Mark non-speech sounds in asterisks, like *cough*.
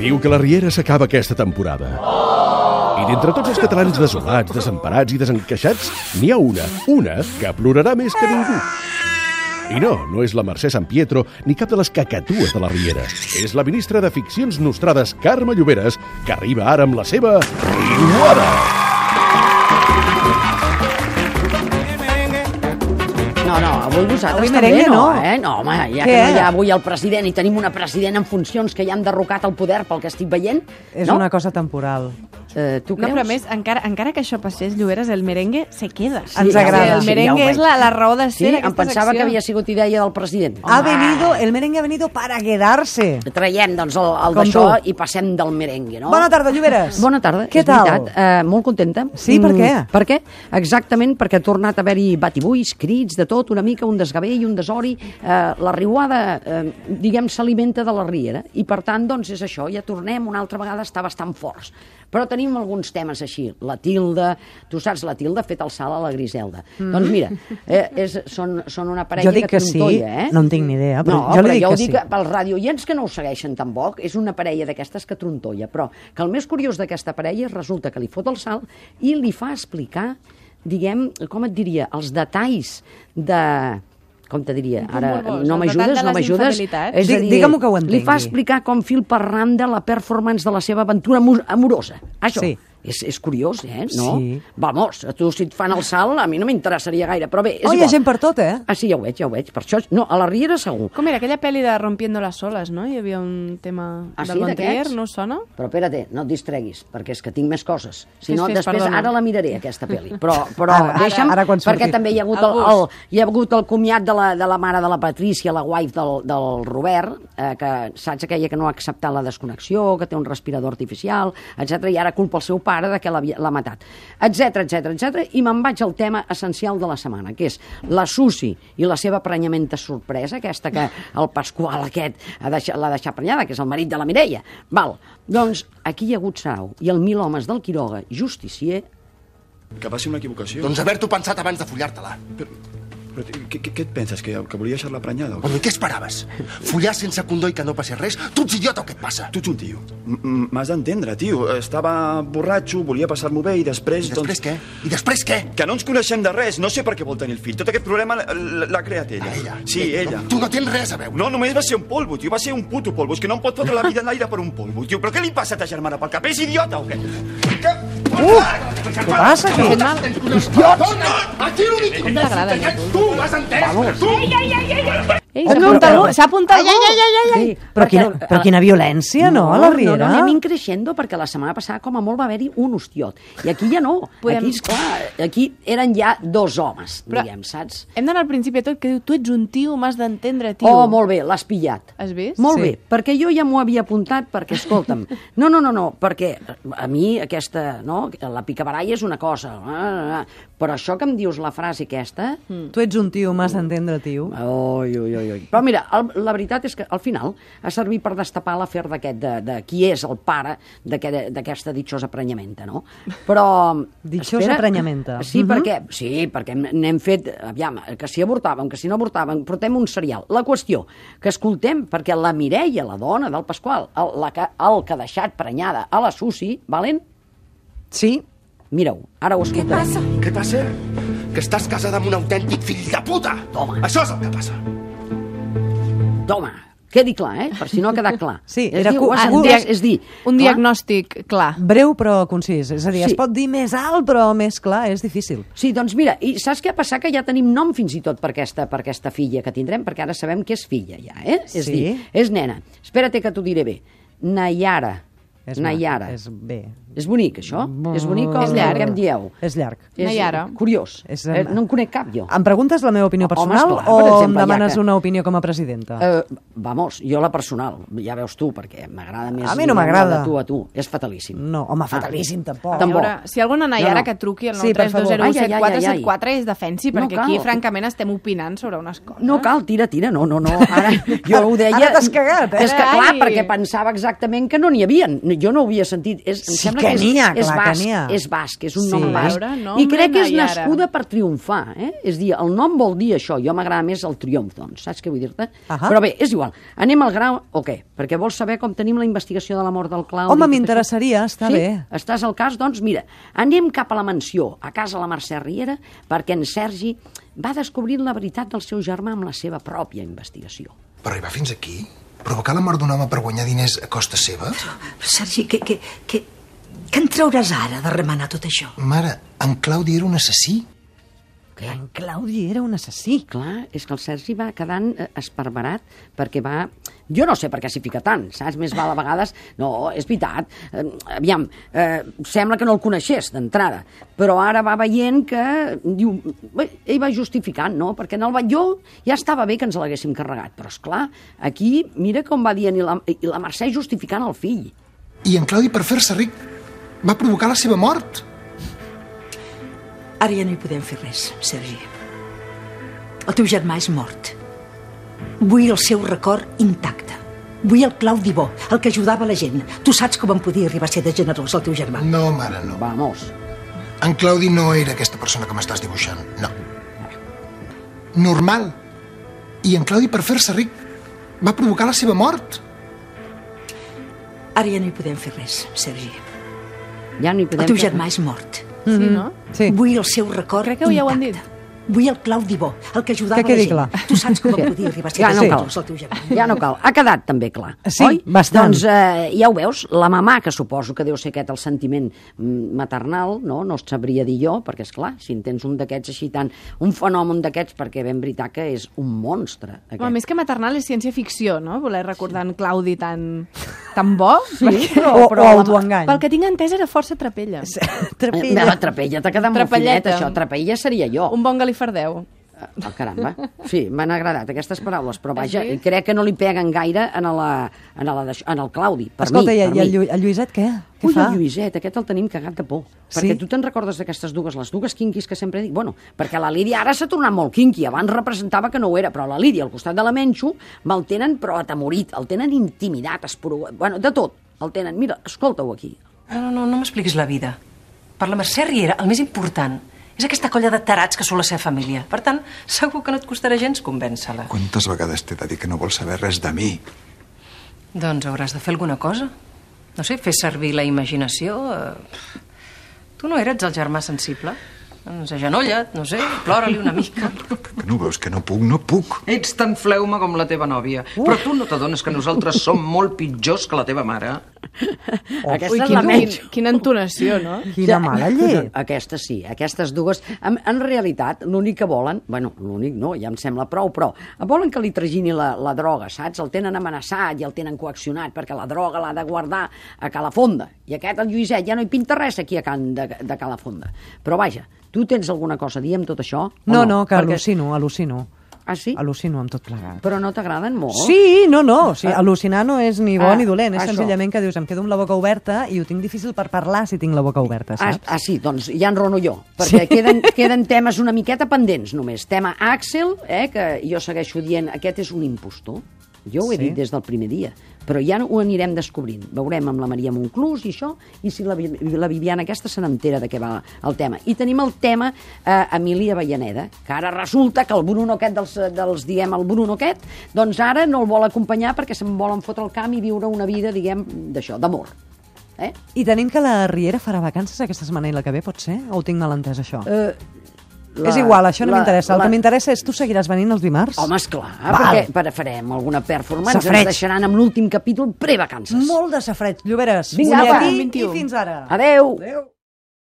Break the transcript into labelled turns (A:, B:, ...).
A: Diu que la Riera s'acaba aquesta temporada. I d'entre tots els catalans desolats, desemparats i desencaixats, n'hi ha una, una, que plorarà més que ningú. I no, no és la Mercè San Pietro ni cap de les cacatues de la Riera. És la ministra de Ficcions Nostrades, Carme Lloberes, que arriba ara amb la seva Riuada.
B: No, no, avui vosaltres
C: Avui
B: també
C: merengue
B: no,
C: no.
B: eh? No, home, ja
C: Què?
B: que no hi ha avui el president i tenim una president en funcions que ja han derrocat el poder pel que estic veient,
C: És
B: no?
C: una cosa temporal.
B: Eh, tu
D: No,
B: creus?
D: però a més, encara, encara que això passés, Lloberes, el merengue se queda.
C: Ens agrada.
D: El
C: Sí,
D: merengue
B: ja ho
D: és la,
B: veig.
D: la raó de
B: Sí,
D: ser
B: em pensava que havia sigut idea del president.
C: Ha venido, el merengue ha venido para quedarse.
B: Traiem, doncs, el, el
C: Com
B: d'això
C: tu.
B: i passem del merengue, no?
C: Bona tarda, Lloberes.
B: Bona tarda,
C: Què
B: és
C: tal?
B: veritat. Eh, molt contenta. Mm,
C: Sí, per què?
B: per què? Exactament perquè ha tornat a haver-hi batibuis, crits, de tot, una mica un desgavell, un desori. Eh, la riuada, eh, diguem, s'alimenta de la riera i, per tant, doncs és això, ja tornem una altra vegada a estar bastant forts. Però tenim alguns temes així. La Tilda, tu saps, la Tilda ha fet el salt a la Griselda. Doncs mira, eh, és, són, són una parella
C: Mm. Jo dic
B: que
C: que sí,
B: trontolla, eh?
C: no en tinc ni idea, però
B: no,
C: jo li
B: però
C: dic
B: jo
C: que
B: ho dic
C: sí.
B: pels radioients que no ho segueixen tampoc, és una parella d'aquestes que trontolla, però que el més curiós d'aquesta parella és resulta que li fot el salt i li fa explicar, diguem, com et diria, els detalls de... Com te diria?
D: punt
B: Ara
D: morbós,
B: no
D: el detall
B: m'ajudes,
D: de
B: no
D: les
B: m'ajudes.
D: infidelitats.
B: És a
C: Di-
B: dir,
C: digue-m'ho que ho
B: Li fa
C: entengui.
B: explicar com fil per randa la performance de la seva aventura amu- amorosa. Això.
C: Sí.
B: És, és curiós, eh? No?
C: Sí.
B: Vamos, a tu si et fan el salt, a mi no m'interessaria gaire, però bé, és
C: Oh, hi ha
B: igual.
C: gent per tot, eh?
B: Ah, sí, ja ho veig, ja ho veig. Per això, no, a la Riera segur.
D: Com era aquella pel·li de Rompiendo las olas, no? Hi havia un tema
B: Ah,
D: del
B: sí,
D: Montier,
B: d'aquests?
D: no us sona?
B: Però espera't, no et distreguis, perquè és que tinc més coses. Si
D: Fes,
B: no,
D: fes,
B: després
D: perdona.
B: ara la miraré, aquesta pel·li. Però, però
C: Ara, ara,
B: deixa'm,
C: ara quan surti.
B: perquè també hi ha hagut
D: El
B: el, el, hi ha hagut el comiat de la, de la mare de la Patrícia, la wife del, del Robert, eh, que saps aquella que no ha acceptat la desconnexió, que té un respirador artificial, etc i ara culpa el seu pare de que l'havia- l'ha matat, etc etc etc i me'n vaig al tema essencial de la setmana, que és la Susi i la seva prenyamenta sorpresa, aquesta que el Pasqual aquest ha deixat, l'ha deixat prenyada, que és el marit de la Mireia. Val, doncs aquí hi ha hagut sarau i el mil homes del Quiroga, justicier,
E: Que va ser una equivocació.
F: Doncs haver-t'ho pensat abans de follar-te-la.
E: Però què, què, què et penses? Que, que volia deixar-la prenyada? O...
F: Bueno, i què esperaves? Follar sense condó i que no passi res? Tu ets idiota o què et passa?
E: Tu ets un tio. M- m- M'has d'entendre, tio. Estava borratxo, volia passar-m'ho bé i després... doncs,
F: I després què? I després què?
E: Que no ens coneixem de res. No sé per què vol tenir el fill. Tot aquest problema l- l- l'ha creat ella.
F: A ella.
E: Sí, ella.
F: Tu no tens res a veure.
E: No, només va ser un polvo, tio. Va ser un puto polvo. És que no em pot fotre la vida en l'aire per un polvo, tio. Però què li passa a ta germana pel cap? És idiota o què? Que... Uh!
C: Què passa aquí?
F: Aquí l'únic que
D: t'agrada,
F: que tu m'has entès, que tu...
D: Ei,
C: Oh,
D: s'ha
C: no,
D: apuntat
C: però-
D: algú- s'ha apuntat algú! Ai, ai, ai, ai,
B: Sí,
C: Però
B: perquè-
C: quina, però quina violència, no, a la Riera?
B: No, no, anem increixendo perquè la setmana passada com a molt va haver-hi un hostiot. I aquí ja no.
D: Podem-
B: Aquí, esclar, aquí eren ja dos homes,
D: Però-
B: diguem, saps?
D: Hem d'anar al principi de tot, que diu, tu ets un tio, m'has d'entendre, tio.
B: Oh, molt bé, l'has pillat.
D: Has vist?
B: Molt
D: Sí.
B: bé, perquè jo ja m'ho havia apuntat, perquè, escolta'm, no, no, no, no, perquè a mi aquesta, no, la picabaralla és una cosa, eh, eh, però això que em dius la frase aquesta,
C: Tu ets un tio, m'has d'entendre, tio.
B: Ah. Oi, oi, oi, oi. Però mira, el, la veritat és que al final ha servit per destapar l'afer d'aquest, de, de qui és el pare d'aquest- d'aquesta ditxosa prenyamenta, no? Però...
C: Ditxosa prenyamenta.
B: Sí,
C: Mhm.
B: perquè, sí, perquè hem- n'hem fet, aviam, que si avortàvem, que si no avortàvem, portem un serial. La qüestió, que escoltem, perquè la Mireia, la dona del Pasqual, el, la, que- el que ha deixat prenyada a la Susi, valent?
C: Sí,
B: Mira-ho, ara ho escoltem.
F: Què passa? Que estàs casada amb un autèntic fill de puta!
B: Toma.
F: Això és el que passa.
B: Toma, quedi clar, eh? Per si no ha quedat clar.
C: Sí,
B: és
C: era
B: dir,
C: cu-
B: ho has
C: un
B: entès,
C: dia-
B: és dir...
D: Un
B: clar,
D: diagnòstic clar.
C: breu però concís. És a dir,
B: Sí.
C: es pot dir més alt però més clar, és difícil.
B: Sí, doncs mira, i saps què ha passat? Que ja tenim nom fins i tot per aquesta, per aquesta filla que tindrem, perquè ara sabem que és filla ja, eh? És
C: Sí.
B: dir, és nena. Espera't que t'ho diré bé. Nayara.
C: És
B: És Nayara.
C: maco, És
B: És...
C: bé.
B: és bonic, això? és bonic com
D: És llarg.
B: què em dieu?
C: És llarg.
B: És
D: Nayara.
B: curiós.
C: És-
B: Eh, no en conec cap, jo.
C: Em preguntes la meva opinió
B: Home,
C: personal
B: esclar, per
C: o
B: exemple,
C: em demanes
B: ja que-
C: una opinió com a presidenta?
B: Eh, vamos, jo la personal, ja veus tu, perquè m'agrada més...
C: A mi no
B: la
C: m'agrada.
B: de Tu a tu, és fatalíssim. Ah.
C: No, home, fatalíssim, tampoc.
D: A veure, si hi ha alguna Nayara que truqui al
C: Sí, per favor.
D: 932017474 es defensi,
B: No
D: perquè aquí,
B: cal.
D: francament, estem opinant sobre unes coses.
B: No cal, tira, tira,
C: *laughs*
B: no, no, no. Ara, jo ho deia...
C: Ara t'has cagat, eh?
B: És que clar,
D: Ai.
B: perquè pensava exactament que no n'hi havia. jo no ho havia sentit. És, em
C: Sí
B: sembla
C: que
B: que, és,
C: n'hi ha,
B: és
C: clar que
B: basc,
C: n'hi ha.
B: és basc, és un
C: Sí.
B: nom
C: A
B: basc.
D: veure, nom
B: I crec que és
D: Nayara.
B: nascuda per triomfar, eh? És a dir, el nom vol dir això, jo m'agrada més el triomf, doncs, saps què vull dir-te?
C: Ahà.
B: Però bé, és igual. Anem al grau o què? Perquè vols saber com tenim la investigació de la mort del Claudi? i
C: Home,
B: tot
C: m'interessaria,
B: això?
C: està
B: sí?
C: bé.
B: Estàs al cas? Doncs mira, anem cap a la mansió, a casa la Mercè Riera, perquè en Sergi va descobrint la veritat del seu germà amb la seva pròpia investigació.
G: Per arribar fins aquí? Provocar la mort d'un home per guanyar diners a costa seva?
H: Sergi, què, què, què, què en trauràs ara de remenar tot això?
G: Mare, en Claudi era un assassí?
B: Eh?
C: Que en Claudi era un assassí.
B: Clar, és que el Sergi va quedant eh, esparverat perquè va... Jo no sé per què s'hi fica tant, saps? Més val a vegades... No, és veritat. Eh, aviam, eh, sembla que no el coneixés d'entrada, però ara va veient que... Diu, bé, ell va justificant, no? Perquè en el balló ja estava bé que ens l'haguéssim carregat, però és clar, aquí mira com va dient i la, i la Mercè justificant el fill.
G: I en Claudi, per fer-se ric, va provocar la seva mort?
H: Ara ja no hi podem fer res, Sergi. El teu germà és mort. Vull el seu record intacte. Vull el Claudi Bo, el que ajudava la gent. Tu saps com em podia arribar a ser de generós el teu germà.
G: No, mare, no.
B: Vamos.
G: En Claudi no era aquesta persona que m'estàs dibuixant, no. Normal. I en Claudi, per fer-se ric, va provocar la seva mort?
H: Ara ja no hi podem fer res, Sergi.
B: Ja no hi podem...
H: El teu
B: fer-
H: germà és mort.
D: Sí,
B: Mm-hmm.
D: no?
C: Sí.
H: Vull el seu record
D: Crec que ja ho han
H: intacte. Vull el Claudi Bo, el que ajudava
C: Que quedi
H: la gent.
C: clar.
H: Tu saps com em podia arribar a ser
B: Ja no
H: de
B: cal.
H: generós el teu germà.
B: Ja no cal. Ha quedat també clar,
C: Sí,
B: oi?
C: bastant.
B: Doncs eh, ja ho veus, la mamà, que suposo que deu ser aquest el sentiment mm, maternal, no? No et sabria dir jo, perquè, és clar, si en tens un d'aquests així tant, un fenomen d'aquests, perquè ben veritat que és un monstre, aquest.
D: Home, més que maternal és ciència-ficció, no? Voler recordar en Claudi tan, tan bo. Sí,
C: O- o autoengany.
D: Pel que tinc entès era força trapella. Sí.
B: Eh,
C: Trepilla.
B: no, trapella, t'ha quedat molt
D: Trapelleta.
B: finet, això. Trapella seria jo.
D: Un bon galifardeu.
B: Oh, caramba. Sí, m'han agradat aquestes paraules, però
D: Has
B: vaja,
D: vist?
B: crec que no li peguen gaire en, la, en, la, d'això- en el Claudi, per
C: Escolta,
B: mi.
C: i,
B: per
C: i
B: mi.
C: el, Llu el Lluïset què? Què
B: Ui,
C: fa?
B: el Lluïset, aquest el tenim cagat de por. Perquè
C: Sí?
B: tu te'n recordes d'aquestes dues, les dues quinquis que sempre dic? Bueno, perquè la Lídia ara s'ha tornat molt quinqui, abans representava que no ho era, però la Lídia al costat de la Menxo me'l tenen però atemorit, el tenen intimidat, esporugat, bueno, de tot, el tenen. Mira, escolta-ho aquí.
I: No, no, no, no m'expliquis la vida. Per la Mercè Riera, el més important és aquesta colla de tarats que sol la seva família. Per tant, segur que no et costarà gens convèncer-la.
J: Quantes vegades t'he de dir que no vols saber res de mi?
I: Doncs hauràs de fer alguna cosa. No sé, fer servir la imaginació... eh, Tu no eres el germà sensible? Doncs agenolla't, no sé, plora-li una mica.
J: Que no veus que no puc, no puc.
K: Ets tan fleuma com la teva nòvia. Uh. Però tu no t'adones que nosaltres som molt pitjors que la teva mare?
B: Oh. Aquesta
D: Ui,
B: és la
D: quin, quin,
B: Menxo.
D: quina entonació, no?
C: Quina mala llet.
B: *laughs* Aquesta sí, aquestes dues. En, en realitat, l'únic que volen... bueno, l'únic no, ja em sembla prou, però volen que li tragini la, la droga, saps? El tenen amenaçat i el tenen coaccionat perquè la droga l'ha de guardar a Calafonda. I aquest, el Lluïset, ja no hi pinta res aquí a Can de, de Calafonda. Però vaja, tu tens alguna cosa a dir amb tot això? o
C: No, no, que
B: Perquè-
C: al·lucino, al·lucino.
B: Ah, sí?
C: Al·lucino amb tot plegat.
B: Però no t'agraden molt?
C: Sí, no, no, o sigui, al·lucinar no és ni bo
B: Oh. Ah,
C: ni dolent, és
B: això.
C: senzillament que dius, em quedo amb la boca oberta i ho tinc difícil per parlar si tinc la boca oberta,
B: Ah,
C: saps?
B: ah, sí, doncs ja enrono jo, perquè queden, queden temes una miqueta pendents només. Tema Axel, eh, que jo segueixo dient, aquest és un impostor. Jo ho he
C: Sí.
B: dit des del primer dia, però ja ho anirem descobrint. Veurem amb la Maria Monclús i això, i si la, Vi- la Viviana aquesta se n'entera de què va el tema. I tenim el tema eh, Emília Avellaneda, que ara resulta que el Bruno aquest dels, dels diguem, el Bruno aquest, doncs ara no el vol acompanyar perquè se'n volen fotre al camp i viure una vida, diguem, d'això, d'amor. Eh?
C: I tenim que la Riera farà vacances aquesta setmana i la que ve, pot ser? O ho tinc mal entès, això?
B: Eh,
C: és igual, això no m'interessa. El
B: la-
C: que m'interessa és tu seguiràs venint els dimarts?
B: Home, esclar, perquè, perquè farem alguna performance,
C: Safareig.
B: ens deixaran amb l'últim capítol prevacances.
C: Molt de safreig, Lloberes.
B: Vinga,
C: Butlletí
B: apa.
C: i fins ara.
B: Adeu.
C: Adéu.